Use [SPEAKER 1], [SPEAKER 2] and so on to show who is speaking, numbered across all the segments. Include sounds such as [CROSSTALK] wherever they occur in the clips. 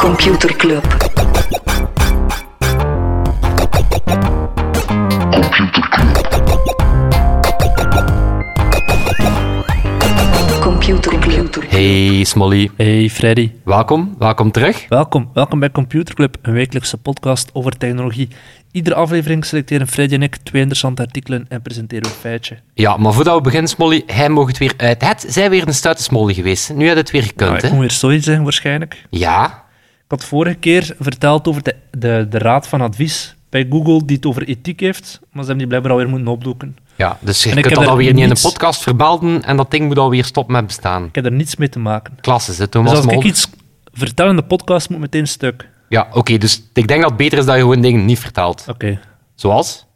[SPEAKER 1] Computer Club. Computer Club.
[SPEAKER 2] Hey Smolly,
[SPEAKER 3] Hey Freddy,
[SPEAKER 2] welkom, welkom terug.
[SPEAKER 3] welkom. Welkom bij Computer Club, een wekelijkse podcast over technologie. Iedere aflevering selecteren Freddy en ik twee interessante artikelen en presenteren we een feitje.
[SPEAKER 2] Ja, maar voordat we beginnen, Smolly, hij mocht het weer uit. Het zijn weer een stoute Smolly geweest. Nu had het weer gekund,
[SPEAKER 3] Ah, ik
[SPEAKER 2] hè?
[SPEAKER 3] moet weer sorry zeggen waarschijnlijk.
[SPEAKER 2] Ja,
[SPEAKER 3] Ik had vorige keer verteld over de, de, de raad van advies bij Google die het over ethiek heeft, maar ze hebben die blijkbaar alweer moeten opdoeken.
[SPEAKER 2] ja. Dus je
[SPEAKER 3] En ik
[SPEAKER 2] kunt
[SPEAKER 3] heb
[SPEAKER 2] dat
[SPEAKER 3] daar
[SPEAKER 2] alweer niet in de
[SPEAKER 3] niets-
[SPEAKER 2] podcast vermelden en dat ding moet alweer stoppen met bestaan.
[SPEAKER 3] Ik heb er niets mee te maken.
[SPEAKER 2] Klasse, hè,
[SPEAKER 3] Dus
[SPEAKER 2] Thomas
[SPEAKER 3] als ik
[SPEAKER 2] Mol.
[SPEAKER 3] iets vertel in de podcast, moet meteen stuk.
[SPEAKER 2] Ja, oké, dus ik denk dat het beter is dat je gewoon dingen niet vertelt.
[SPEAKER 3] Oké.
[SPEAKER 2] Zoals?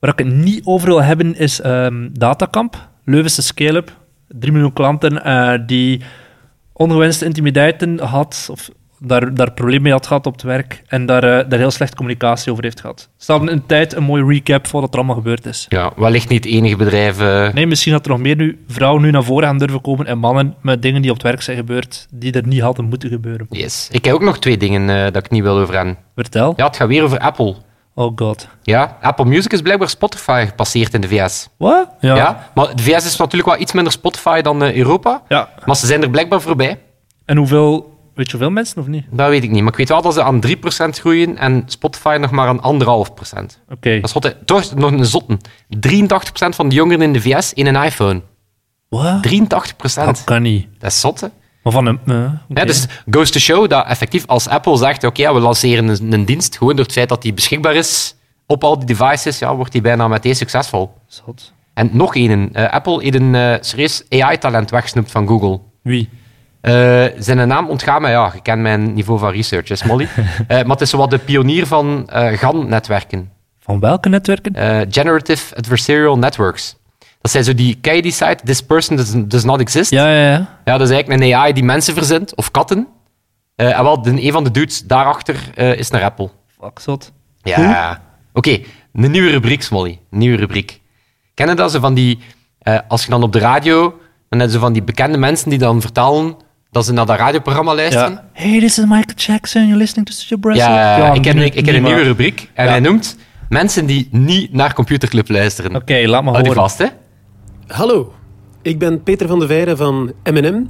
[SPEAKER 3] Waar ik het niet over wil hebben is ehm, Datacamp, Leuvense scale-up. 3 miljoen klanten eh, die ongewenste intimideiten had, of daar, daar problemen mee had gehad op het werk, en daar, eh, daar heel slecht communicatie over heeft gehad. Stel een tijd een mooie recap voor wat er allemaal gebeurd is.
[SPEAKER 2] Ja, wellicht niet het enige bedrijf. eh,
[SPEAKER 3] Nee, misschien dat er nog meer nu, vrouwen nu naar voren gaan durven komen en mannen met dingen die op het werk zijn gebeurd, die er niet hadden moeten gebeuren.
[SPEAKER 2] Yes. Ik heb ook nog twee dingen eh, dat ik niet wil over hebben.
[SPEAKER 3] Vertel.
[SPEAKER 2] Ja, het gaat weer over Apple.
[SPEAKER 3] Oh god.
[SPEAKER 2] Ja, Apple Music is blijkbaar Spotify gepasseerd in de VS.
[SPEAKER 3] Wat? Ja.
[SPEAKER 2] Ja.
[SPEAKER 3] ja.
[SPEAKER 2] maar de VS is natuurlijk wel iets minder Spotify dan eh, Europa. Maar ze zijn er blijkbaar voorbij.
[SPEAKER 3] En hoeveel, weet je hoeveel mensen of niet?
[SPEAKER 2] Dat weet ik niet. Maar ik weet wel dat ze aan 3% groeien en Spotify nog maar aan 1,5%.
[SPEAKER 3] Oké.
[SPEAKER 2] Dat is hotte. Toch nog een zotten. 83% van de jongeren in de VS in een iPhone.
[SPEAKER 3] Wat?
[SPEAKER 2] 83%.
[SPEAKER 3] Dat
[SPEAKER 2] Dat
[SPEAKER 3] kan niet.
[SPEAKER 2] is zotte.
[SPEAKER 3] Maar van een... eh, oké.
[SPEAKER 2] Ja, dus goes to show dat effectief als Apple zegt, oké, ja, we lanceren een, een dienst, gewoon door het feit dat die beschikbaar is op al die devices, ja, wordt die bijna meteen succesvol.
[SPEAKER 3] Zot.
[SPEAKER 2] En nog één. eh, Apple heeft een eh, serieus AI-talent weggesnoept van Google.
[SPEAKER 3] Wie?
[SPEAKER 2] Eh, zijn naam ontgaat mij, ja, je kent mijn niveau van research, hè,
[SPEAKER 3] [LAUGHS]
[SPEAKER 2] Smolly. Eh, maar het is zowat de pionier van eh GAN-netwerken.
[SPEAKER 3] Van welke netwerken?
[SPEAKER 2] Eh, Generative Adversarial Networks. Dat zijn zo die, ken je die site? This person does, does not exist.
[SPEAKER 3] Ja, ja, ja.
[SPEAKER 2] Ja, dat is eigenlijk een AI die mensen verzint, of katten. Eh en wel, de, een van de dudes daarachter eh, is naar Apple.
[SPEAKER 3] Fuck, zot.
[SPEAKER 2] Ja. Oké, een nieuwe rubriek, Smolly. Een nieuwe rubriek. Kennen dat ze van die... eh, als je dan op de radio... Dan hebben ze van die bekende mensen die dan vertalen dat ze naar dat radioprogramma luisteren.
[SPEAKER 3] Ja. Hey, this is Michael Jackson. You're listening to such a brass.
[SPEAKER 2] Ja, ik
[SPEAKER 3] ken
[SPEAKER 2] ken, ik, ik ken een nieuwe rubriek. En
[SPEAKER 3] Ja.
[SPEAKER 2] hij noemt mensen die niet naar Computerclub luisteren.
[SPEAKER 3] Oké, laat maar
[SPEAKER 2] Houd die
[SPEAKER 3] horen.
[SPEAKER 2] vast, hè.
[SPEAKER 4] Hallo, ik ben Peter van de Veire van M&M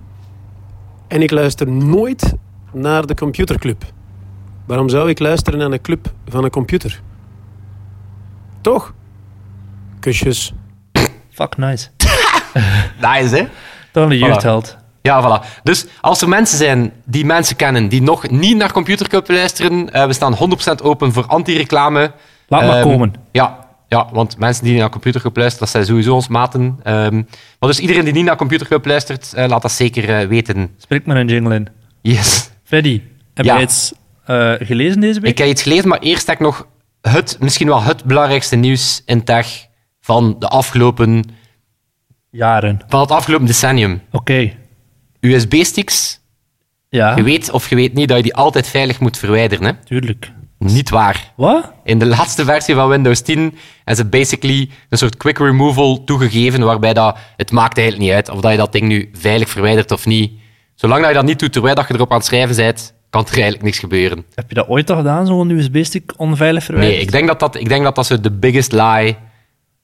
[SPEAKER 4] en ik luister nooit naar de computerclub. Waarom zou ik luisteren naar een club van een computer? Toch? Kusjes.
[SPEAKER 3] Fuck, nice.
[SPEAKER 2] Nice, hè.
[SPEAKER 3] Dan een
[SPEAKER 2] Voilà.
[SPEAKER 3] jeugdheld.
[SPEAKER 2] Ja, voilà. Dus als er mensen zijn die mensen kennen die nog niet naar Computerclub luisteren, eh, we staan 100% open voor anti-reclame.
[SPEAKER 3] Laat maar
[SPEAKER 2] Ehm,
[SPEAKER 3] komen.
[SPEAKER 2] Ja, ja, want mensen die naar Computerclub luisteren, dat zijn sowieso ons maten. Ehm, maar dus iedereen die niet naar Computerclub luistert, eh, laat dat zeker eh, weten.
[SPEAKER 3] Spreek maar een jingle in.
[SPEAKER 2] Yes.
[SPEAKER 3] Freddy, heb
[SPEAKER 2] Ja.
[SPEAKER 3] jij iets eh, gelezen deze week?
[SPEAKER 2] Ik heb iets gelezen, maar eerst heb ik nog het, misschien wel het belangrijkste nieuws in tech van, de afgelopen,
[SPEAKER 3] Jaren.
[SPEAKER 2] van het afgelopen decennium.
[SPEAKER 3] Oké.
[SPEAKER 2] USB-sticks.
[SPEAKER 3] Ja,
[SPEAKER 2] Je weet of je weet niet dat je die altijd veilig moet verwijderen. Hè?
[SPEAKER 3] tuurlijk.
[SPEAKER 2] Niet waar.
[SPEAKER 3] Wat?
[SPEAKER 2] In de laatste versie van Windows 10 hebben ze basically een soort quick removal toegegeven, waarbij dat, het maakt eigenlijk niet uit of dat je dat ding nu veilig verwijdert of niet. Zolang dat je dat niet doet terwijl dat je erop aan het schrijven bent, kan er eigenlijk niks gebeuren.
[SPEAKER 3] Heb je dat ooit al gedaan, zo'n USB-stick onveilig verwijderd?
[SPEAKER 2] Nee, ik denk dat dat, ik denk dat, dat zo de biggest lie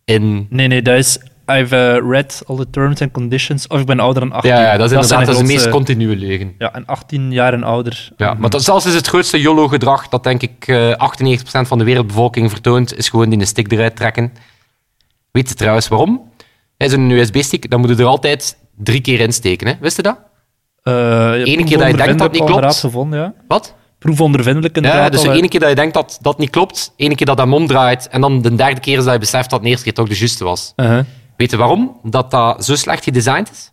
[SPEAKER 2] in
[SPEAKER 3] Nee, nee, dat is... I've eh, read all the terms and conditions. Of ik ben ouder dan 18.
[SPEAKER 2] Ja, ja, dat is
[SPEAKER 3] zijn
[SPEAKER 2] inderdaad eh, dat is de meest
[SPEAKER 3] grootste-
[SPEAKER 2] continue leugen.
[SPEAKER 3] Ja, en 18 jaar en ouder.
[SPEAKER 2] Ja, maar dat, zelfs is het grootste YOLO-gedrag dat denk ik eh, 98% van de wereldbevolking vertoont, is gewoon die een stick eruit trekken. Weet je trouwens waarom? Hè, Zo'n USB-stick, dan moet je er altijd drie keer in steken. Hè? Wist je dat?
[SPEAKER 3] eh, Eén
[SPEAKER 2] Ene keer dat je denkt dat niet klopt.
[SPEAKER 3] gevonden, ja.
[SPEAKER 2] Wat?
[SPEAKER 3] Proefondervindelijk inderdaad.
[SPEAKER 2] Ja, dus
[SPEAKER 3] al,
[SPEAKER 2] de
[SPEAKER 3] hè.
[SPEAKER 2] ene keer dat je denkt dat dat niet klopt, de ene keer dat dat mom draait, en dan de derde keer is dat je beseft dat de eerste keer toch de juiste was.
[SPEAKER 3] Uh-huh.
[SPEAKER 2] Weet je waarom? Dat dat zo slecht gedesigned is?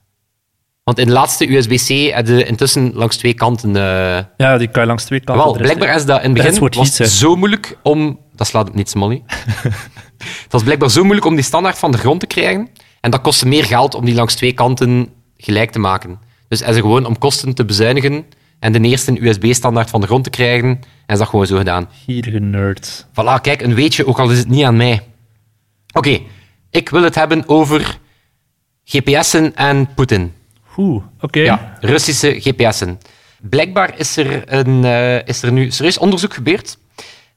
[SPEAKER 2] Want in de laatste USB-C heb je intussen langs twee kanten... eh,
[SPEAKER 3] Ja, die kan je langs twee kanten
[SPEAKER 2] Wel,
[SPEAKER 3] draaien.
[SPEAKER 2] blijkbaar is dat in het
[SPEAKER 3] That's
[SPEAKER 2] begin
[SPEAKER 3] what
[SPEAKER 2] was
[SPEAKER 3] she said.
[SPEAKER 2] het zo moeilijk om... Dat slaat op niets, [LAUGHS] Molly. het was blijkbaar zo moeilijk om die standaard van de grond te krijgen. En dat kostte meer geld om die langs twee kanten gelijk te maken. Dus is er gewoon om kosten te bezuinigen en de eerste USB-standaard van de grond te krijgen, en dat gewoon zo gedaan.
[SPEAKER 3] Gierige nerd.
[SPEAKER 2] Voilà, kijk, een weetje, ook al is het niet aan mij. Oké, ik wil het hebben over GPS'en en Poetin.
[SPEAKER 3] Oeh, oké.
[SPEAKER 2] Ja, Russische GPS'en. Blijkbaar is er, een, eh, is er nu serieus onderzoek gebeurd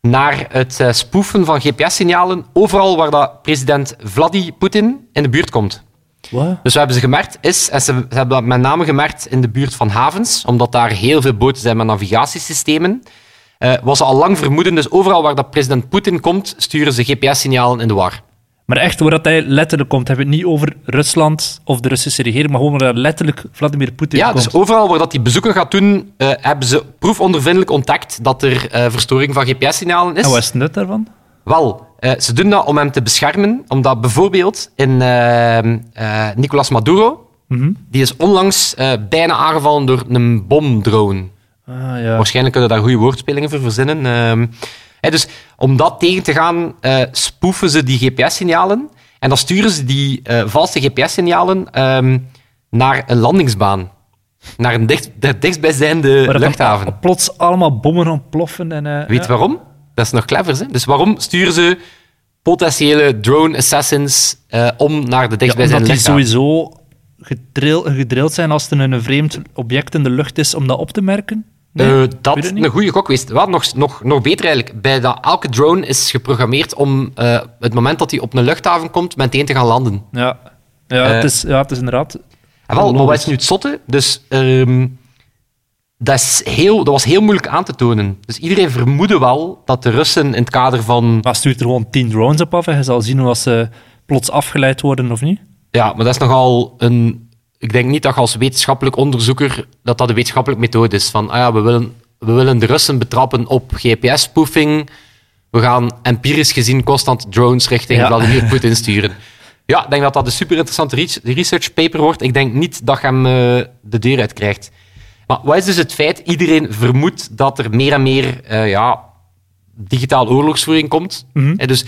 [SPEAKER 2] naar het eh, spoefen van GPS-signalen overal waar dat president Vladi Poetin in de buurt komt.
[SPEAKER 3] Wat?
[SPEAKER 2] Dus wat hebben ze gemerkt is, en ze, ze hebben dat met name gemerkt in de buurt van havens, omdat daar heel veel boten zijn met navigatiesystemen, eh, was ze al lang vermoeden, dus overal waar dat president Poetin komt, sturen ze GPS-signalen in de war.
[SPEAKER 3] Maar echt, waar dat hij letterlijk komt, hebben we het niet over Rusland of de Russische regering, maar gewoon waar letterlijk Vladimir Poetin
[SPEAKER 2] Ja,
[SPEAKER 3] komt.
[SPEAKER 2] dus overal waar dat die bezoeken gaat doen, eh, hebben ze proefondervindelijk ontdekt dat er eh, verstoring van GPS-signalen is.
[SPEAKER 3] En wat is het nut daarvan?
[SPEAKER 2] Wel, eh, ze doen dat om hem te beschermen, omdat bijvoorbeeld in eh, eh, Nicolas Maduro, die is onlangs eh, bijna aangevallen door een bomdrone.
[SPEAKER 3] Ah, ja.
[SPEAKER 2] Waarschijnlijk kunnen daar goede woordspelingen voor verzinnen. Ehm, hè, dus om dat tegen te gaan, eh spoeven ze die GPS-signalen en dan sturen ze die eh, valse GPS-signalen ehm, naar een landingsbaan. Naar een dicht, de dichtstbijzijnde
[SPEAKER 3] Waar dat
[SPEAKER 2] luchthaven.
[SPEAKER 3] dan plots allemaal bommen ontploffen en... eh,
[SPEAKER 2] Weet
[SPEAKER 3] ja.
[SPEAKER 2] waarom? Dat is nog clever, hè? Dus waarom sturen ze potentiële drone assassins eh, om naar de
[SPEAKER 3] Ja,
[SPEAKER 2] dichtstbijzijnde
[SPEAKER 3] omdat die
[SPEAKER 2] luchthaven?
[SPEAKER 3] sowieso gedrill, gedrild zijn als er een vreemd object in de lucht is om dat op te merken. Nee?
[SPEAKER 2] Eh,
[SPEAKER 3] Ik
[SPEAKER 2] dat
[SPEAKER 3] weet
[SPEAKER 2] is
[SPEAKER 3] het niet.
[SPEAKER 2] een goede gok geweest. Wat nog, nog, nog beter eigenlijk, bij dat elke drone is geprogrammeerd om eh, het moment dat hij op een luchthaven komt, meteen te gaan landen.
[SPEAKER 3] Ja, ja,
[SPEAKER 2] Eh,
[SPEAKER 3] het, is, ja het is inderdaad...
[SPEAKER 2] En wel, maar wat
[SPEAKER 3] logisch.
[SPEAKER 2] is nu het zotte? Dus ehm, dat, is heel, dat was heel moeilijk aan te tonen. Dus iedereen vermoedde wel dat de Russen in het kader van...
[SPEAKER 3] Maar stuurt er gewoon tien drones op af en je zal zien hoe ze plots afgeleid worden of niet.
[SPEAKER 2] Ja, maar dat is nogal een... Ik denk niet dat je als wetenschappelijk onderzoeker dat dat de wetenschappelijke methode is. Van, ah ja, we willen, we willen de Russen betrappen op GPS-spoofing. We gaan empirisch gezien constant drones richting
[SPEAKER 3] Ja.
[SPEAKER 2] Vladimir Poetin sturen. Ja, ik denk dat dat een super interessante research paper wordt. Ik denk niet dat je hem eh, de deur uit krijgt. Maar wat is dus het feit? Iedereen vermoedt dat er meer en meer eh, ja, digitaal oorlogsvoering komt.
[SPEAKER 3] Mhm.
[SPEAKER 2] Eh, dus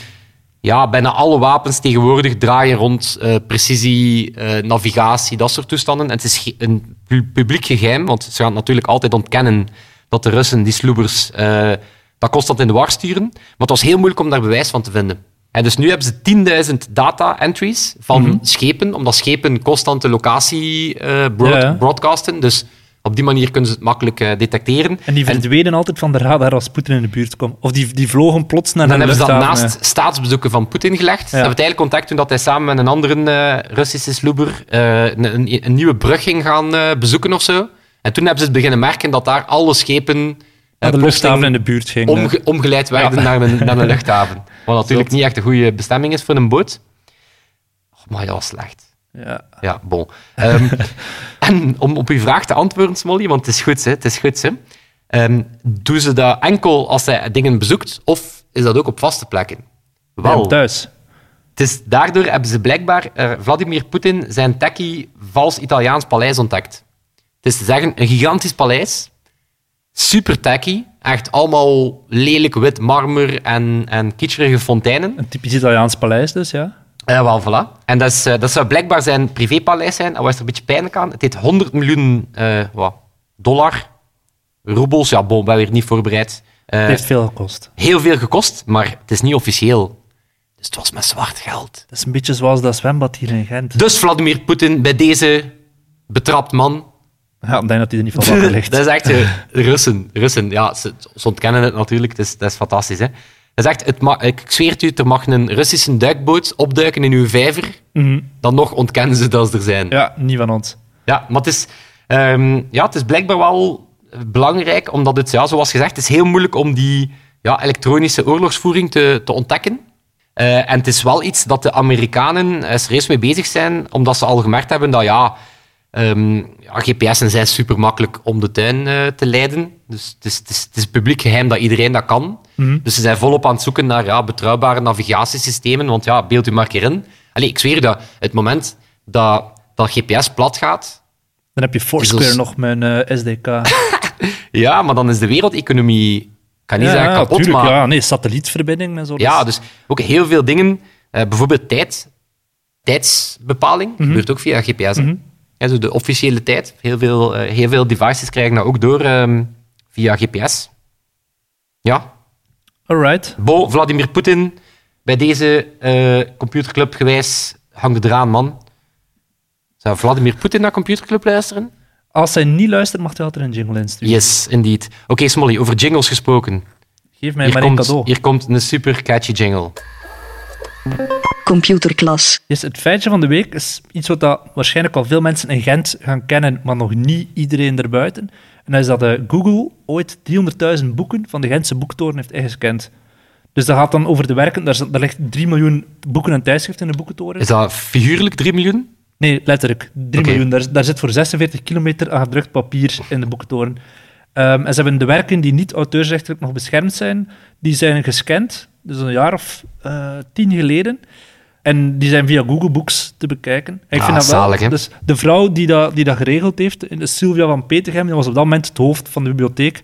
[SPEAKER 2] ja, bijna alle wapens tegenwoordig draaien rond eh, precisie, eh, navigatie, dat soort toestanden. En het is ge- een pu- publiek geheim, want ze gaan natuurlijk altijd ontkennen dat de Russen, die sloebers, eh, dat constant in de war sturen. Maar het was heel moeilijk om daar bewijs van te vinden. En dus nu hebben ze 10.000 data-entries van
[SPEAKER 3] Mhm.
[SPEAKER 2] schepen, omdat schepen constant de locatie eh, broad-
[SPEAKER 3] Ja, ja.
[SPEAKER 2] broadcasten. Dus op die manier kunnen ze het makkelijk eh, detecteren.
[SPEAKER 3] En die verdwenen altijd van de radar als Poetin in de buurt komt. Of die, die vlogen plots naar
[SPEAKER 2] En dan
[SPEAKER 3] een
[SPEAKER 2] hebben ze dat
[SPEAKER 3] luchthaven.
[SPEAKER 2] naast eh, staatsbezoeken van Poetin gelegd. Ze hebben tijdelijk contact toen dat hij samen met een andere eh, Russische sloeber eh, een, een, een nieuwe brug ging gaan eh, bezoeken of zo. En toen hebben ze het beginnen merken dat daar alle schepen eh,
[SPEAKER 3] Naar de
[SPEAKER 2] plotseling
[SPEAKER 3] luchthaven in de buurt ging.
[SPEAKER 2] omge- omgeleid werden
[SPEAKER 3] Ja.
[SPEAKER 2] naar,
[SPEAKER 3] [LAUGHS]
[SPEAKER 2] een, naar een luchthaven. Wat natuurlijk niet echt een goede bestemming is voor een boot. Oh, maar dat was slecht.
[SPEAKER 3] Ja.
[SPEAKER 2] Ja, bon. Ehm, en om op uw vraag te antwoorden, Smolly, want het is goed, hè, het is goed. Hè. Ehm, doen ze dat enkel als zij dingen bezoekt, of is dat ook op vaste plekken?
[SPEAKER 3] Bij hem
[SPEAKER 2] Wel,
[SPEAKER 3] thuis.
[SPEAKER 2] het is, daardoor hebben ze blijkbaar eh, Vladimir Poetin zijn tekkie vals Italiaans paleis ontdekt. Het is te zeggen, een gigantisch paleis, super techie, echt allemaal lelijk wit marmer en, en kitscherige fonteinen.
[SPEAKER 3] Een typisch Italiaans paleis dus, ja.
[SPEAKER 2] Ja, Eh, wel, voilà. En dat, is, eh, dat zou blijkbaar zijn privépaleis zijn. En was er een beetje pijnlijk aan? Het heet 100 miljoen eh, wat, dollar. Roebels, ja, bon, ben weer niet voorbereid. Eh,
[SPEAKER 3] Het heeft veel gekost.
[SPEAKER 2] heel veel gekost, maar het is niet officieel. Dus het was met zwart geld.
[SPEAKER 3] Dat is een beetje zoals dat zwembad hier in Gent.
[SPEAKER 2] Dus Vladimir Poetin, bij deze betrapt man.
[SPEAKER 3] Ja, ik denk dat hij er niet van
[SPEAKER 2] [LAUGHS]
[SPEAKER 3] wakker ligt.
[SPEAKER 2] dat is echt eh, Russen. Russen, ja, ze, ze ontkennen het natuurlijk. Het is, dat is fantastisch, hè. Dat is echt, het ma- ik zweer het u, er mag een Russische duikboot opduiken in uw vijver.
[SPEAKER 3] Mhm.
[SPEAKER 2] Dan nog ontkennen ze dat ze er zijn.
[SPEAKER 3] Ja, niet van ons.
[SPEAKER 2] Ja, maar het is, ehm, ja, het is blijkbaar wel belangrijk, omdat het, ja, zoals gezegd, het is heel moeilijk om die ja, elektronische oorlogsvoering te, te ontdekken. Eh, en het is wel iets dat de Amerikanen eh, serieus mee bezig zijn, omdat ze al gemerkt hebben dat ja, ehm, ja GPS'en zijn super makkelijk om de tuin eh, te leiden. Dus het is, het, is, het is publiek geheim dat iedereen dat kan. Dus ze zijn volop aan het zoeken naar ja, betrouwbare navigatiesystemen. Want ja, beeld u maar een keer in. Allee, ik zweer dat het moment dat, dat GPS plat gaat,
[SPEAKER 3] Dan heb je Foursquare
[SPEAKER 2] Is Dus dat-
[SPEAKER 3] nog mijn eh, SDK.
[SPEAKER 2] Ja, maar dan is de wereldeconomie, ik kan niet zeggen kapot,
[SPEAKER 3] tuurlijk,
[SPEAKER 2] maar...
[SPEAKER 3] ja, nee, satellietverbinding en zo.
[SPEAKER 2] Ja,
[SPEAKER 3] dat
[SPEAKER 2] dus ook heel veel dingen, eh, bijvoorbeeld tijd, tijdsbepaling,
[SPEAKER 3] Mhm.
[SPEAKER 2] gebeurt ook via GPS. hè. Ja, zo de officiële tijd. Heel veel, eh, heel veel devices krijgen dat ook door ehm, via GPS. Ja,
[SPEAKER 3] is- Alright.
[SPEAKER 2] Bo, Vladimir Poetin, bij deze eh, computerclub gewijs, hang de draan, man. Zou Vladimir Poetin naar computerclub luisteren?
[SPEAKER 3] Als hij niet luistert, mag hij altijd een jingle insturen.
[SPEAKER 2] Yes, indeed. Oké, Smolly, over jingles gesproken.
[SPEAKER 3] Geef mij
[SPEAKER 2] Hier
[SPEAKER 3] maar een
[SPEAKER 2] komt,
[SPEAKER 3] cadeau.
[SPEAKER 2] hier komt een super catchy jingle.
[SPEAKER 1] Computerklas.
[SPEAKER 3] Yes, Dus het feitje van de week is iets wat dat waarschijnlijk al veel mensen in Gent gaan kennen, maar nog niet iedereen erbuiten. En dat is dat eh, Google ooit 300.000 boeken van de Gentse boektoren heeft ingescand. Dus dat gaat dan over de werken. Daar, zit- daar ligt 3 miljoen boeken en tijdschriften in de boekentoren.
[SPEAKER 2] Is dat figuurlijk 3 miljoen?
[SPEAKER 3] Nee, letterlijk. 3
[SPEAKER 2] Oké.
[SPEAKER 3] miljoen. Daar, daar zit voor 46 kilometer aan gedrukt papier in de boektoren. Ehm, en ze hebben de werken die niet auteursrechtelijk nog beschermd zijn, die zijn gescand, dus een jaar of eh, tien geleden. En die zijn via Google Books te bekijken. En ik
[SPEAKER 2] Ah,
[SPEAKER 3] vind dat wel.
[SPEAKER 2] zalig, hè?
[SPEAKER 3] dus de vrouw die dat, die dat geregeld heeft, eh, Sylvia van Petegem, die was op dat moment het hoofd van de bibliotheek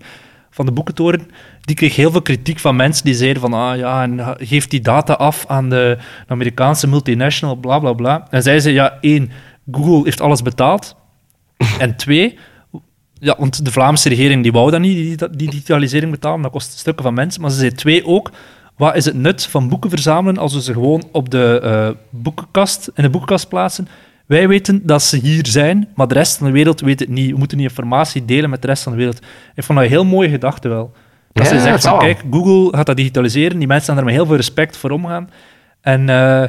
[SPEAKER 3] van de boekentoren, die kreeg heel veel kritiek van mensen die zeiden van, ah ja, en ha- geef die data af aan de Amerikaanse multinational, bla bla bla. En zij zei, ja, één, Google heeft alles
[SPEAKER 2] [LAUGHS]
[SPEAKER 3] betaald. En twee, ja, want de Vlaamse regering die wou dat niet, die, die- die digitalisering betalen, dat kost stukken van mensen. Maar ze zei twee ook, wat is het nut van boeken verzamelen als we ze gewoon op de eh, boekenkast, in de boekenkast plaatsen? Wij weten dat ze hier zijn, maar de rest van de wereld weet het niet. We moeten die informatie delen met de rest van de wereld. Ik vond dat een heel mooie gedachte wel. Dat
[SPEAKER 2] Ja,
[SPEAKER 3] ze zegt,
[SPEAKER 2] dat
[SPEAKER 3] van,
[SPEAKER 2] wel.
[SPEAKER 3] kijk, Google gaat dat digitaliseren, die mensen gaan er met heel veel respect voor omgaan. En eh,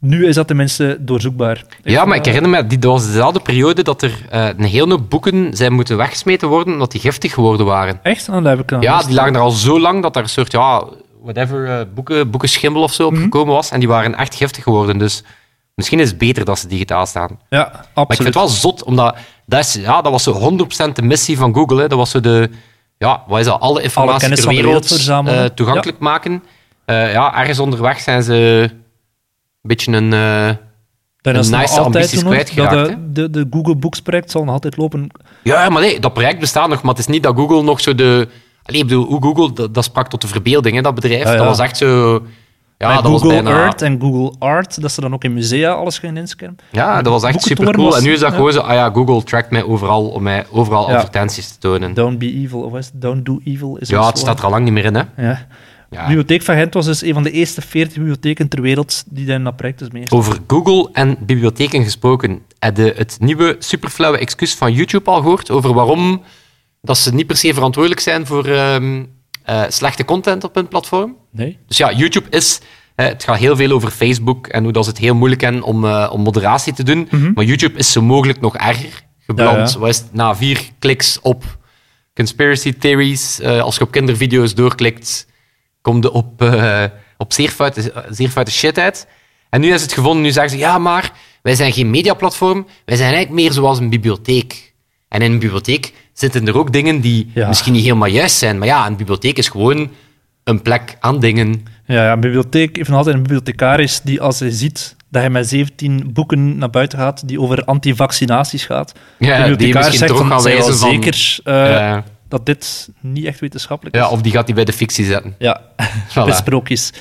[SPEAKER 3] nu is dat tenminste doorzoekbaar.
[SPEAKER 2] Ja,
[SPEAKER 3] vond
[SPEAKER 2] maar
[SPEAKER 3] dat-
[SPEAKER 2] ik herinner me, die, dat was dezelfde periode dat er eh, een hele hoop boeken zijn moeten weggesmeten worden omdat die giftig geworden waren.
[SPEAKER 3] Echt? Ah, dat heb ik dan
[SPEAKER 2] Ja,
[SPEAKER 3] gemist.
[SPEAKER 2] die lagen er al zo lang dat er een soort, ja, whatever, eh, boeken, boekenschimmel of
[SPEAKER 3] Mhm.
[SPEAKER 2] zo opgekomen was. En die waren echt giftig geworden. Dus misschien is het beter dat ze digitaal staan.
[SPEAKER 3] Ja, absoluut.
[SPEAKER 2] Maar ik vind het wel zot, omdat dat, is, ja, dat was zo 100% de missie van Google. Hè. Dat was zo de, ja, wat is dat, alle
[SPEAKER 3] Alle
[SPEAKER 2] informatie
[SPEAKER 3] kennis
[SPEAKER 2] ter
[SPEAKER 3] van de wereld
[SPEAKER 2] wereld
[SPEAKER 3] verzamelen.
[SPEAKER 2] eh, toegankelijk maken. Eh, ja, ergens onderweg zijn ze een beetje een... eh,
[SPEAKER 3] Dan
[SPEAKER 2] Een
[SPEAKER 3] is het
[SPEAKER 2] nice
[SPEAKER 3] nog altijd
[SPEAKER 2] ambities
[SPEAKER 3] zo nog
[SPEAKER 2] kwijtgeraakt,
[SPEAKER 3] dat
[SPEAKER 2] hè?
[SPEAKER 3] de, de, de Google Books project zal nog altijd lopen.
[SPEAKER 2] Ja, maar nee, dat project bestaat nog, maar het is niet dat Google nog zo de... Allee, ik bedoel, hoe Google, dat, dat sprak tot de verbeelding, hè, dat bedrijf.
[SPEAKER 3] Ja, ja.
[SPEAKER 2] Dat was echt zo... Ja,
[SPEAKER 3] Bij
[SPEAKER 2] dat
[SPEAKER 3] Google
[SPEAKER 2] was bijna...
[SPEAKER 3] Earth en Google Art, dat ze dan ook in musea alles gaan inscannen.
[SPEAKER 2] Ja, dat was echt
[SPEAKER 3] Boekentoren
[SPEAKER 2] super cool.
[SPEAKER 3] was-
[SPEAKER 2] En nu is dat
[SPEAKER 3] ja.
[SPEAKER 2] gewoon zo, ah ja, Google trackt mij overal om mij overal
[SPEAKER 3] Ja.
[SPEAKER 2] advertenties te tonen.
[SPEAKER 3] Don't be evil, of is het Don't do evil. Is
[SPEAKER 2] Hm. Ja,
[SPEAKER 3] een
[SPEAKER 2] het
[SPEAKER 3] slogan.
[SPEAKER 2] staat er al lang niet meer in, hè.
[SPEAKER 3] Ja. De
[SPEAKER 2] Ja.
[SPEAKER 3] bibliotheek van Gent was dus een van de eerste 40 bibliotheken ter wereld die daar in dat project is mee.
[SPEAKER 2] Over Google en bibliotheken gesproken. Heb je het nieuwe superflauwe excuus van YouTube al gehoord over waarom dat ze niet per se verantwoordelijk zijn voor ehm, eh, slechte content op hun platform?
[SPEAKER 3] Nee?
[SPEAKER 2] Dus ja, YouTube is. eh, het gaat heel veel over Facebook en hoe dat ze het heel moeilijk hebben om, eh, om moderatie te doen. Maar YouTube is zo mogelijk nog erger
[SPEAKER 3] Ja,
[SPEAKER 2] gebland.
[SPEAKER 3] Mhm. ja.
[SPEAKER 2] Wat is het? na vier kliks op conspiracy theories, eh, als je op kindervideo's doorklikt, kom je op, eh, op zeer, foute, zeer foute shit uit. En nu is het gevonden, nu zeggen ze, ja, maar wij zijn geen mediaplatform, wij zijn eigenlijk meer zoals een bibliotheek. En in een bibliotheek zitten er ook dingen die
[SPEAKER 3] Ja.
[SPEAKER 2] misschien niet helemaal juist zijn. Maar ja, een bibliotheek is gewoon een plek aan dingen.
[SPEAKER 3] Ja, ja, een bibliotheek heeft nog altijd een bibliothecaris die als hij ziet dat hij met 17 boeken naar buiten gaat die over antivaccinaties gaat,
[SPEAKER 2] Ja, die
[SPEAKER 3] de bibliothecaris
[SPEAKER 2] misschien
[SPEAKER 3] zegt
[SPEAKER 2] toch
[SPEAKER 3] van,
[SPEAKER 2] gaan
[SPEAKER 3] zijn we wel
[SPEAKER 2] wijzen van,
[SPEAKER 3] zeker eh,
[SPEAKER 2] eh,
[SPEAKER 3] dat dit niet echt wetenschappelijk is.
[SPEAKER 2] ja, dus of die gaat die bij de fictie zetten. [LAUGHS]
[SPEAKER 3] Ja,
[SPEAKER 2] Voilà.
[SPEAKER 3] met sprookjes.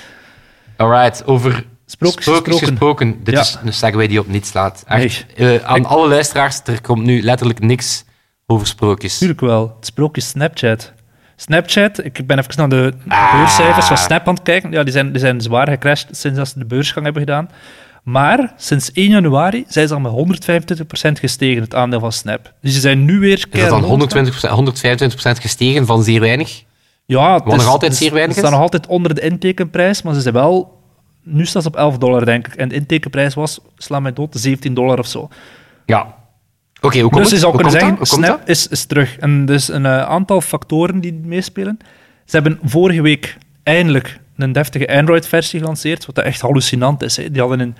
[SPEAKER 2] Alright, over
[SPEAKER 3] Sprookjes
[SPEAKER 2] sprookjes
[SPEAKER 3] gesproken.
[SPEAKER 2] gesproken. Dit
[SPEAKER 3] Ja.
[SPEAKER 2] is een segue die op niets slaat. Echt, eh, aan
[SPEAKER 3] Ik-
[SPEAKER 2] alle luisteraars, er komt nu letterlijk niks over sprookjes.
[SPEAKER 3] Tuurlijk wel. Het sprookje Snapchat. Snapchat, ik ben even naar de beurscijfers van Snap aan het kijken. Ja, die zijn, die zijn zwaar gecrashed sinds dat ze de beursgang hebben gedaan. Maar sinds 1 januari zijn ze al met 125% gestegen, het aandeel van Snap. Dus ze zijn nu weer...
[SPEAKER 2] Is dat
[SPEAKER 3] keihard
[SPEAKER 2] dan
[SPEAKER 3] ondergestaan.
[SPEAKER 2] 120 125 gestegen van zeer weinig?
[SPEAKER 3] Ja, het
[SPEAKER 2] Wat nog altijd zeer weinig
[SPEAKER 3] Ze staan
[SPEAKER 2] is?
[SPEAKER 3] nog altijd onder de intekenprijs, maar ze zijn wel... Nu staat ze op 11 dollar, denk ik. En de intekenprijs was, sla mij dood, 17 dollar of zo.
[SPEAKER 2] Ja. Oké, hoe komt
[SPEAKER 3] dus je
[SPEAKER 2] het?
[SPEAKER 3] zou
[SPEAKER 2] Hoe
[SPEAKER 3] kunnen
[SPEAKER 2] komt
[SPEAKER 3] zeggen,
[SPEAKER 2] dat? Hoe komt
[SPEAKER 3] Snap is, is terug. En dus een eh, aantal factoren die meespelen. Ze hebben vorige week eindelijk een deftige Android-versie gelanceerd, wat echt hallucinant is. Hè. Die, hadden een,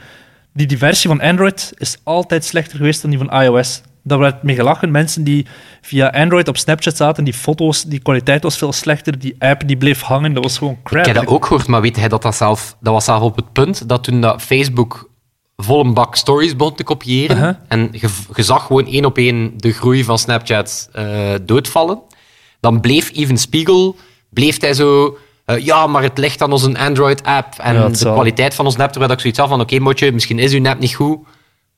[SPEAKER 3] die, die versie van Android is altijd slechter geweest dan die van iOS. Daar werd mee gelachen. Mensen die via Android op Snapchat zaten, die foto's, die kwaliteit was veel slechter. Die app die bleef hangen, dat was gewoon crap.
[SPEAKER 2] Ik heb dat ook gehoord, maar weet hij dat dat zelf... Dat was zelf op het punt dat toen dat Facebook vol een bak stories begon te kopiëren
[SPEAKER 3] Uh-huh.
[SPEAKER 2] en je, je zag gewoon één op één de groei van Snapchat eh, doodvallen, dan bleef Even Spiegel, bleef hij zo... eh, ja, maar het ligt aan onze Android-app en
[SPEAKER 3] Ja, het
[SPEAKER 2] de
[SPEAKER 3] zal.
[SPEAKER 2] kwaliteit van ons app. Terwijl ik zoiets had van, oké, motje, misschien is uw app niet goed,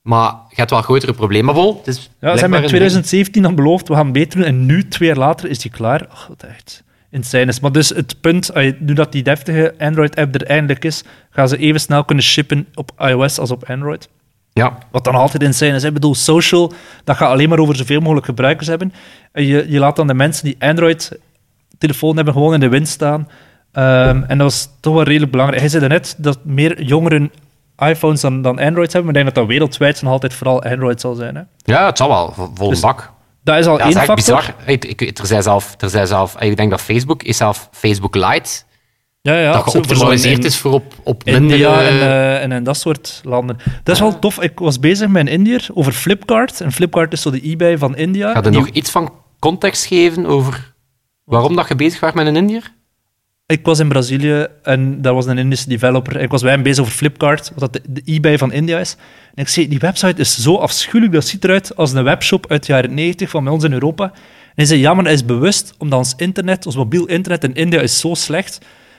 [SPEAKER 2] maar je hebt wel grotere problemen. Maar bon, het is
[SPEAKER 3] Ja, ze
[SPEAKER 2] blijkbaar
[SPEAKER 3] hebben
[SPEAKER 2] een
[SPEAKER 3] in
[SPEAKER 2] ding.
[SPEAKER 3] 2017 dan beloofd, we gaan beter doen. En nu, twee jaar later, is die klaar. Ach, wat echt insane is. Maar dus het punt, ah, nu dat die deftige Android-app er eindelijk is, gaan ze even snel kunnen shippen op iOS als op Android.
[SPEAKER 2] Ja,
[SPEAKER 3] Wat dan altijd insane is. Ik bedoel, social, dat gaat alleen maar over zoveel mogelijk gebruikers hebben. En je, je laat dan de mensen die Android-telefoon hebben gewoon in de wind staan. Ehm, en dat is toch wel redelijk belangrijk. Hij zei net dat meer jongeren iPhones dan, dan Androids hebben. Maar ik denk dat dat wereldwijd nog altijd vooral Android zal zijn. Hè?
[SPEAKER 2] ja het zal wel, vol vol een
[SPEAKER 3] Dus-
[SPEAKER 2] bak.
[SPEAKER 3] Dat is al
[SPEAKER 2] Ja,
[SPEAKER 3] één
[SPEAKER 2] dat is
[SPEAKER 3] factor.
[SPEAKER 2] eigenlijk bizar. Ik, ik, er zijn zelf, er zijn zelf, ik denk dat Facebook is zelf Facebook Lite,
[SPEAKER 3] Ja, ja,
[SPEAKER 2] dat
[SPEAKER 3] absoluut. Voor zo'n
[SPEAKER 2] geoptimaliseerd
[SPEAKER 3] Ah, in-
[SPEAKER 2] is voor op, op minder...
[SPEAKER 3] India en,
[SPEAKER 2] eh, Ah,
[SPEAKER 3] eh, en, en dat soort landen. Dat is wel tof. Ik was bezig met een Indiër over Flipkart. En Flipkart is zo de eBay van India.
[SPEAKER 2] Ga je
[SPEAKER 3] Die-
[SPEAKER 2] nog iets van context geven over waarom dat je bezig was met een Indiër?
[SPEAKER 3] Ik was in Brazilië en daar was een Indische developer. Ik was bij hem bezig over Flipkart, wat dat de, de eBay van India is. En ik zei, die website is zo afschuwelijk, dat ziet eruit als een webshop uit de jaren 90 van bij ons in Europa. En hij zei, ja, maar dat is bewust, omdat ons internet, ons mobiel internet in India is zo slecht.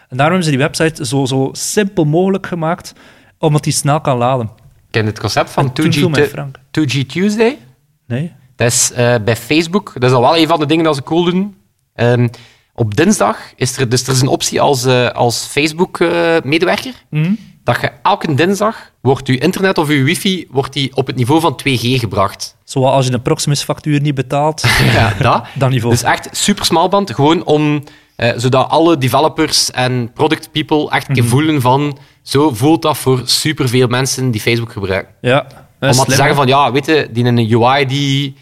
[SPEAKER 3] En daarom hebben ze die website zo, zo simpel mogelijk gemaakt, omdat die snel kan laden.
[SPEAKER 2] Ken je het concept van
[SPEAKER 3] En
[SPEAKER 2] 2G,
[SPEAKER 3] toen viel mij
[SPEAKER 2] Tu-
[SPEAKER 3] Frank.
[SPEAKER 2] 2G Tuesday?
[SPEAKER 3] Nee?
[SPEAKER 2] Dat is eh, bij Facebook, dat is al wel een van de dingen dat ze cool doen. Ehm, op dinsdag is er, dus er is een optie als, eh, als Facebook-medewerker,
[SPEAKER 3] Mhm.
[SPEAKER 2] dat je elke dinsdag wordt je internet of je wifi wordt die op het niveau van 2G gebracht.
[SPEAKER 3] Zoals als je een Proximus-factuur niet betaalt, [LAUGHS]
[SPEAKER 2] Ja, dat.
[SPEAKER 3] dan niveau.
[SPEAKER 2] Dus echt super smalband, gewoon om, eh, zodat alle developers en product people echt een
[SPEAKER 3] Mhm.
[SPEAKER 2] keer voelen van, zo voelt dat voor superveel mensen die Facebook gebruiken.
[SPEAKER 3] ja, dat is
[SPEAKER 2] Om maar te
[SPEAKER 3] slim,
[SPEAKER 2] zeggen
[SPEAKER 3] hè.
[SPEAKER 2] van, ja, weet je, die in een UI die,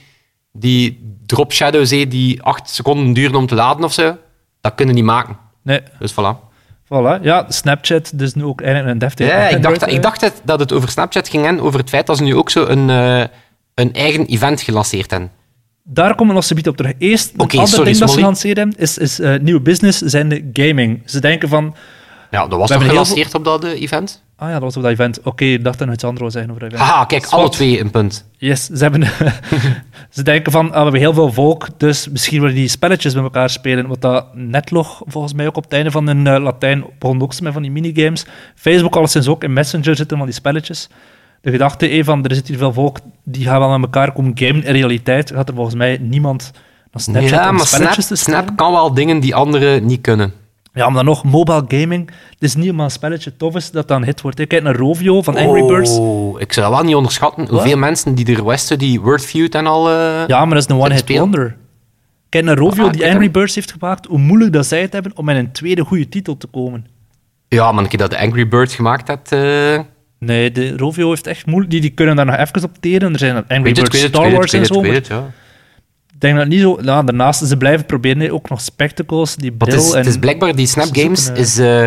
[SPEAKER 2] die drop shadows heeft die acht seconden duren om te laden of zo, dat kunnen die maken.
[SPEAKER 3] Nee,
[SPEAKER 2] Dus voilà.
[SPEAKER 3] voilà. Ja, Snapchat, dus nu ook eigenlijk een deftige...
[SPEAKER 2] Ja, ik dacht,
[SPEAKER 3] Android,
[SPEAKER 2] dat- ik
[SPEAKER 3] eh.
[SPEAKER 2] dacht het- dat het over Snapchat ging en over het feit dat ze nu ook zo een, eh, een eigen event gelanceerd hebben.
[SPEAKER 3] Daar komen we nog zometeen op terug. Eerst, een
[SPEAKER 2] Oké,
[SPEAKER 3] ander
[SPEAKER 2] sorry,
[SPEAKER 3] ding dat ze
[SPEAKER 2] Smolly.
[SPEAKER 3] gelanceerd hebben, is, is eh, nieuwe business, zijn de gaming. Ze denken van,
[SPEAKER 2] Ja, dat was
[SPEAKER 3] We
[SPEAKER 2] toch
[SPEAKER 3] hebben heel
[SPEAKER 2] gelanceerd op dat eh, event?
[SPEAKER 3] ah ja, dat was op dat event. Oké, ik dacht dat nog iets anders wou zeggen over dat event.
[SPEAKER 2] Haha, kijk,
[SPEAKER 3] Swat.
[SPEAKER 2] alle twee een punt.
[SPEAKER 3] Yes, ze, hebben, [LAUGHS] ze denken van, ah, we hebben heel veel volk, dus misschien willen die spelletjes met elkaar spelen. Want dat netlog, volgens mij ook op het einde van een eh, Latijn, begon ook met van die minigames. Facebook alleszins ook, in Messenger zitten van die spelletjes. De gedachte eh, van, er zit hier veel volk, die gaan wel met elkaar komen gamen. In realiteit gaat er volgens mij niemand naar Snapchat
[SPEAKER 2] ja,
[SPEAKER 3] om
[SPEAKER 2] maar
[SPEAKER 3] spelletjes
[SPEAKER 2] Snap,
[SPEAKER 3] te spelen.
[SPEAKER 2] Snap kan wel dingen die anderen niet kunnen.
[SPEAKER 3] Ja, maar dan nog, mobile gaming. Het is niet omdat een spelletje tof is dat dan hit wordt. Ik kijk naar Rovio van Angry Birds.
[SPEAKER 2] Oh, ik zou dat wel niet onderschatten hoeveel mensen die er Westen, die Wordfeud en al... eh,
[SPEAKER 3] Ja, maar dat is een one-hit
[SPEAKER 2] speel.
[SPEAKER 3] wonder. Kijk naar Rovio
[SPEAKER 2] Ah,
[SPEAKER 3] die
[SPEAKER 2] kijk
[SPEAKER 3] Angry
[SPEAKER 2] aan.
[SPEAKER 3] Birds heeft gemaakt. Hoe moeilijk dat zij het hebben om met een tweede goede titel te komen.
[SPEAKER 2] Ja, maar een keer dat de Angry Birds gemaakt had... eh,
[SPEAKER 3] Nee, de Rovio heeft echt moeilijk. Die, die kunnen daar nog even op teren. Er zijn Angry
[SPEAKER 2] weet het, ik
[SPEAKER 3] Birds,
[SPEAKER 2] weet het, ik
[SPEAKER 3] Star
[SPEAKER 2] weet
[SPEAKER 3] Wars
[SPEAKER 2] het, ik
[SPEAKER 3] en
[SPEAKER 2] weet
[SPEAKER 3] zo.
[SPEAKER 2] het, ik
[SPEAKER 3] maar
[SPEAKER 2] weet het,
[SPEAKER 3] Ik
[SPEAKER 2] ja.
[SPEAKER 3] denk dat niet zo. Nou, daarnaast, ze blijven proberen hè, ook nog spectacles. Die
[SPEAKER 2] Maar
[SPEAKER 3] bril
[SPEAKER 2] het is,
[SPEAKER 3] en...
[SPEAKER 2] het is blijkbaar, die Snap
[SPEAKER 3] ze
[SPEAKER 2] Games,
[SPEAKER 3] zoeken, eh,
[SPEAKER 2] is, eh,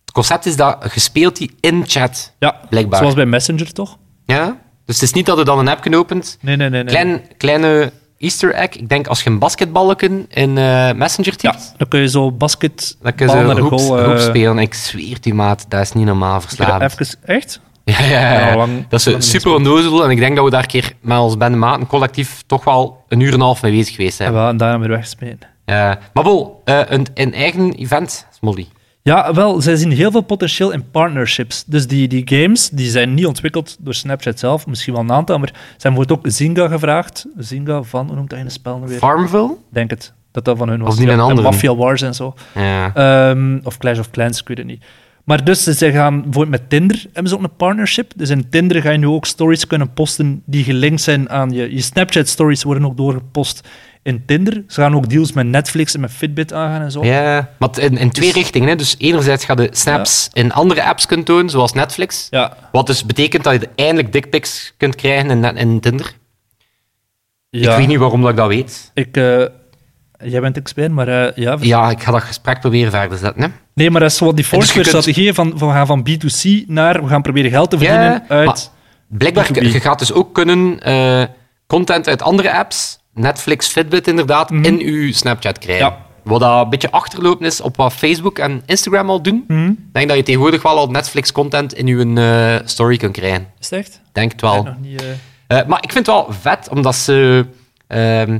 [SPEAKER 2] het concept is dat gespeeld die in chat.
[SPEAKER 3] Ja,
[SPEAKER 2] blijkbaar.
[SPEAKER 3] zoals bij Messenger toch?
[SPEAKER 2] Ja? Dus het is niet dat je dan een app opent.
[SPEAKER 3] Nee, nee, nee. nee.
[SPEAKER 2] Klein, Kleine easter egg. Ik denk als je een basketbalken in eh, Messenger
[SPEAKER 3] Ja,
[SPEAKER 2] typt,
[SPEAKER 3] dan kun je zo basket
[SPEAKER 2] dan kun je
[SPEAKER 3] naar
[SPEAKER 2] zo'n
[SPEAKER 3] de
[SPEAKER 2] hoek,
[SPEAKER 3] goal... eh,
[SPEAKER 2] hoek spelen. Ik zweer het u, maat, dat is niet normaal verslavend.
[SPEAKER 3] Even, echt?
[SPEAKER 2] Ja, ja, ja.
[SPEAKER 3] Ja, lang-
[SPEAKER 2] dat is
[SPEAKER 3] lang
[SPEAKER 2] eh,
[SPEAKER 3] niet
[SPEAKER 2] super onnozel. En ik denk dat we daar een keer met ons bende maten collectief toch wel een uur en een half mee bezig geweest
[SPEAKER 3] Ja,
[SPEAKER 2] zijn.
[SPEAKER 3] wel, en daarna weer weggesmeten.
[SPEAKER 2] Eh, maar wel, eh, een, een eigen event, Smolly.
[SPEAKER 3] Ja, wel, zij zien heel veel potentieel in partnerships. Dus die, die games die zijn niet ontwikkeld door Snapchat zelf, misschien wel een aantal, maar zijn bijvoorbeeld ook Zynga gevraagd. Zynga van, hoe noemt dat in spel nou weer?
[SPEAKER 2] Farmville?
[SPEAKER 3] Denk het, dat dat van hun was.
[SPEAKER 2] die een
[SPEAKER 3] Ja, en
[SPEAKER 2] andere.
[SPEAKER 3] Mafia Wars en zo.
[SPEAKER 2] Ja.
[SPEAKER 3] Ehm, of Clash of Clans, ik weet het niet. Maar dus, ze gaan bijvoorbeeld met Tinder hebben ze ook een partnership. Dus in Tinder ga je nu ook stories kunnen posten die gelinkt zijn aan je. Je Snapchat-stories worden ook doorgepost in Tinder. Ze gaan ook deals met Netflix en met Fitbit aangaan en zo.
[SPEAKER 2] ja, maar t- in, in twee
[SPEAKER 3] Eh, Dus-
[SPEAKER 2] richtingen. Hè. Dus enerzijds ga je snaps in andere apps kunt tonen, zoals Netflix.
[SPEAKER 3] ja.
[SPEAKER 2] Wat dus betekent dat je eindelijk dickpics kunt krijgen in, net- in Tinder. Ik weet niet waarom dat ik dat weet.
[SPEAKER 3] Ik, eh, jij bent expert, maar eh, ja.
[SPEAKER 2] Ja, ik ga dat gesprek proberen verder te zetten. Hè.
[SPEAKER 3] Nee, maar dat is wat die
[SPEAKER 2] je
[SPEAKER 3] Foursquare-strategie van, van we gaan van B2C naar we gaan proberen geld te
[SPEAKER 2] Ja,
[SPEAKER 3] verdienen uit...
[SPEAKER 2] maar Blijkbaar,
[SPEAKER 3] B2B.
[SPEAKER 2] je gaat dus ook kunnen eh, content uit andere apps, Netflix, Fitbit inderdaad, in uw Snapchat krijgen.
[SPEAKER 3] Mhm. Ja.
[SPEAKER 2] Wat dat een beetje achterlopen is op wat Facebook en Instagram al doen.
[SPEAKER 3] Mhm.
[SPEAKER 2] Ik denk dat je tegenwoordig wel al Netflix-content in uw eh, story kunt krijgen.
[SPEAKER 3] Is het echt?
[SPEAKER 2] Ik Denk het
[SPEAKER 3] Ik
[SPEAKER 2] wel.
[SPEAKER 3] weet nog niet, eh.
[SPEAKER 2] Eh, maar ik vind het wel vet, omdat ze... ehm,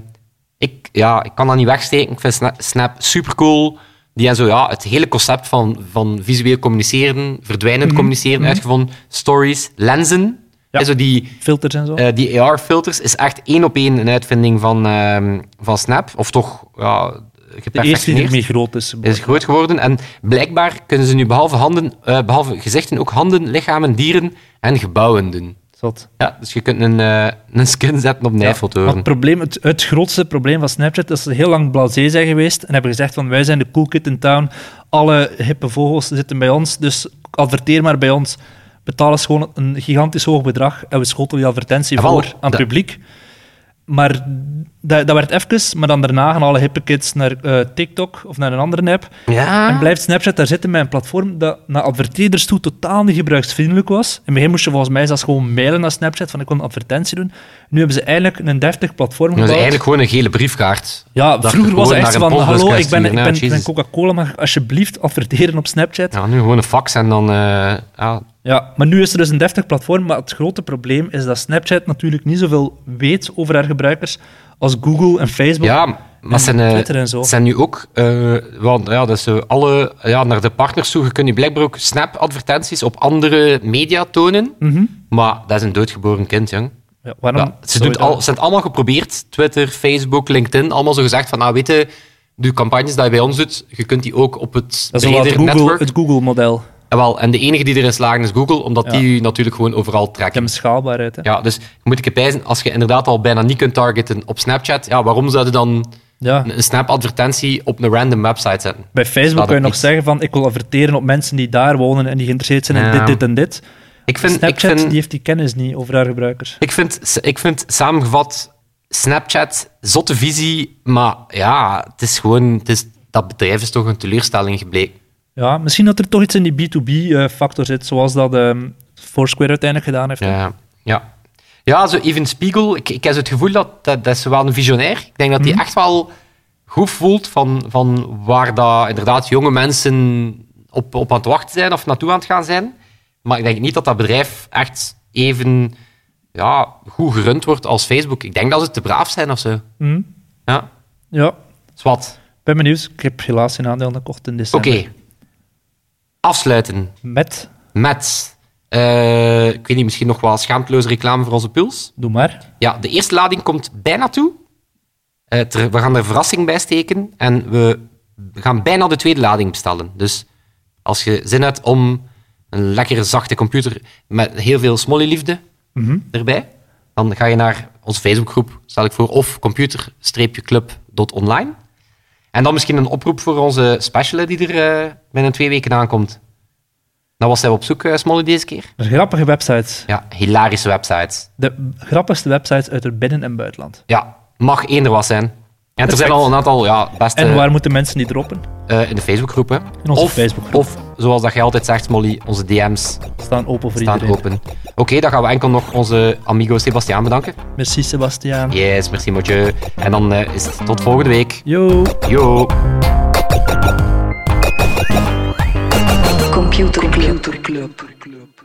[SPEAKER 2] ik, ja, ik kan dat niet wegsteken. Ik vind Snap, Snap supercool. Die en zo, ja, het hele concept van, van visueel communiceren, verdwijnend communiceren, uitgevonden. Stories, lenzen.
[SPEAKER 3] Mhm. Ja.
[SPEAKER 2] En zo die
[SPEAKER 3] Filters en zo.
[SPEAKER 2] eh, die AR-filters is echt één op één een uitvinding van, ehm, van Snap. Of toch ja,
[SPEAKER 3] de eerste die
[SPEAKER 2] geperfectioneerd.
[SPEAKER 3] ermee groot is.
[SPEAKER 2] is groot geworden. En blijkbaar kunnen ze nu behalve, handen, eh, behalve gezichten ook handen, lichamen, dieren en gebouwen doen.
[SPEAKER 3] Zalig. Zot.
[SPEAKER 2] Ja, dus je kunt een, eh, een skin zetten op
[SPEAKER 3] Maar het,
[SPEAKER 2] nijfilteren.
[SPEAKER 3] probleem, het, het grootste probleem van Snapchat is dat ze heel lang blasé zijn geweest en hebben gezegd van wij zijn de cool kid in town, alle hippe vogels zitten bij ons, dus adverteer maar bij ons. Betaal eens gewoon een gigantisch hoog bedrag en we schotelen die advertentie
[SPEAKER 2] Ja, wel,
[SPEAKER 3] voor aan het
[SPEAKER 2] dat-
[SPEAKER 3] publiek. Maar dat, dat werd even, maar dan daarna gaan alle hippe kids naar eh, TikTok of naar een andere app.
[SPEAKER 2] Ja,
[SPEAKER 3] En blijft Snapchat daar zitten met een platform dat naar adverteerders toe totaal niet gebruiksvriendelijk was. In het begin moest je volgens mij zelfs gewoon mailen naar Snapchat van ik wil een advertentie doen. Nu hebben ze eigenlijk een deftig platform
[SPEAKER 2] dat
[SPEAKER 3] gebouwd.
[SPEAKER 2] is eigenlijk gewoon een gele briefkaart.
[SPEAKER 3] Ja,
[SPEAKER 2] Dat
[SPEAKER 3] vroeger
[SPEAKER 2] je
[SPEAKER 3] was het
[SPEAKER 2] gewoon
[SPEAKER 3] echt
[SPEAKER 2] naar
[SPEAKER 3] van
[SPEAKER 2] een postbus
[SPEAKER 3] hallo,
[SPEAKER 2] kan
[SPEAKER 3] ik ben, ik
[SPEAKER 2] sturen, hè,
[SPEAKER 3] ben, ik ben
[SPEAKER 2] Jezus.
[SPEAKER 3] Coca-Cola, mag alsjeblieft adverteren op Snapchat. Ja.
[SPEAKER 2] Ja, nu gewoon een fax en dan... eh, ja.
[SPEAKER 3] maar nu is er dus een deftig platform. Maar het grote probleem is dat Snapchat natuurlijk niet zoveel weet over haar gebruikers als Google en Facebook.
[SPEAKER 2] ja, maar het zijn, eh,
[SPEAKER 3] Twitter en zo.
[SPEAKER 2] het zijn nu ook... eh, want ja, dat is, eh, alle, ja, naar de partners toe, je kunt je blijkbaar ook Snap-advertenties op andere media tonen.
[SPEAKER 3] Mhm.
[SPEAKER 2] Maar dat is een doodgeboren kind, jong.
[SPEAKER 3] Ja, waarom
[SPEAKER 2] Ja, ze,
[SPEAKER 3] zou je
[SPEAKER 2] doet al,
[SPEAKER 3] dat-
[SPEAKER 2] ze hebben het allemaal geprobeerd. Twitter, Facebook, LinkedIn. Allemaal zo gezegd van, nou weet je, de campagnes die je bij ons doet, je kunt die ook op het
[SPEAKER 3] Dat is wel het
[SPEAKER 2] breder
[SPEAKER 3] Google-
[SPEAKER 2] netwerk.
[SPEAKER 3] het Google-model.
[SPEAKER 2] En, wel, en de enige die erin slagen is Google, omdat
[SPEAKER 3] Ja.
[SPEAKER 2] die natuurlijk gewoon overal trekken.
[SPEAKER 3] Hem schaalbaarheid. Hè?
[SPEAKER 2] Ja, dus je moet ik pijzen, als je inderdaad al bijna niet kunt targeten op Snapchat, ja, waarom zou je dan
[SPEAKER 3] Ja.
[SPEAKER 2] een een Snap-advertentie op een random website zetten?
[SPEAKER 3] Bij Facebook
[SPEAKER 2] Staat
[SPEAKER 3] kun je
[SPEAKER 2] het
[SPEAKER 3] nog
[SPEAKER 2] niet.
[SPEAKER 3] zeggen van ik wil adverteren op mensen die daar wonen en die geïnteresseerd zijn in
[SPEAKER 2] Ja.
[SPEAKER 3] dit, dit en dit.
[SPEAKER 2] Ik vind, ik
[SPEAKER 3] Snapchat
[SPEAKER 2] vind,
[SPEAKER 3] die heeft die kennis niet over haar gebruikers.
[SPEAKER 2] ik vind, ik vind samengevat Snapchat, zotte visie, maar ja, het is gewoon, het is, dat bedrijf is toch een teleurstelling gebleken.
[SPEAKER 3] Ja, misschien dat er toch iets in die B2B-factor eh, zit, zoals dat ehm, Foursquare uiteindelijk gedaan heeft.
[SPEAKER 2] Ja, ja. ja zo Even Spiegel, ik, ik heb zo het gevoel dat, dat, dat is wel een visionair. Ik denk dat hij echt wel goed voelt van, van waar dat inderdaad jonge mensen op, op aan het wachten zijn of naartoe aan het gaan zijn. Maar ik denk niet dat dat bedrijf echt even ja, goed gerund wordt als Facebook. Ik denk dat ze te braaf zijn of zo.
[SPEAKER 3] Hm?
[SPEAKER 2] Ja,
[SPEAKER 3] Ja,
[SPEAKER 2] zwart.
[SPEAKER 3] ben benieuwd. Ik heb helaas geen aandeel gekocht in
[SPEAKER 2] Oké.
[SPEAKER 3] december.
[SPEAKER 2] Afsluiten
[SPEAKER 3] Met,
[SPEAKER 2] met, eh, ik weet niet, misschien nog wel schaamteloze reclame voor onze puls.
[SPEAKER 3] doe maar.
[SPEAKER 2] Ja, de eerste lading komt bijna toe. Eh, ter- we gaan er verrassing bij steken en we gaan bijna de tweede lading bestellen. Dus als je zin hebt om een lekkere zachte computer met heel veel smollyliefde
[SPEAKER 3] Mhm.
[SPEAKER 2] erbij, dan ga je naar onze Facebookgroep, stel ik voor, of computer-club.online. En dan misschien een oproep voor onze special die er eh, binnen twee weken aankomt. Nou was hij op zoek, eh, Smolly, deze keer.
[SPEAKER 3] Er zijn grappige websites.
[SPEAKER 2] Ja, hilarische websites.
[SPEAKER 3] De grappigste websites uit het binnen- en buitenland.
[SPEAKER 2] Ja, mag eender was zijn. En er zijn
[SPEAKER 3] Perfect.
[SPEAKER 2] al een aantal ja, beste
[SPEAKER 3] En waar moeten mensen die droppen?
[SPEAKER 2] eh, in de Facebookgroepen.
[SPEAKER 3] In onze
[SPEAKER 2] of,
[SPEAKER 3] Facebookgroep.
[SPEAKER 2] Of, zoals dat jij altijd zegt, Molly, onze DM's
[SPEAKER 3] Staan open voor
[SPEAKER 2] staan
[SPEAKER 3] iedereen.
[SPEAKER 2] open. Oké, dan gaan we enkel nog onze amigo Sebastiaan bedanken.
[SPEAKER 3] Merci, Sebastiaan.
[SPEAKER 2] Yes, merci, Mathieu. En dan eh, is het tot volgende week.
[SPEAKER 3] Yo.
[SPEAKER 2] Yo.
[SPEAKER 1] Computer Club. Computer Club.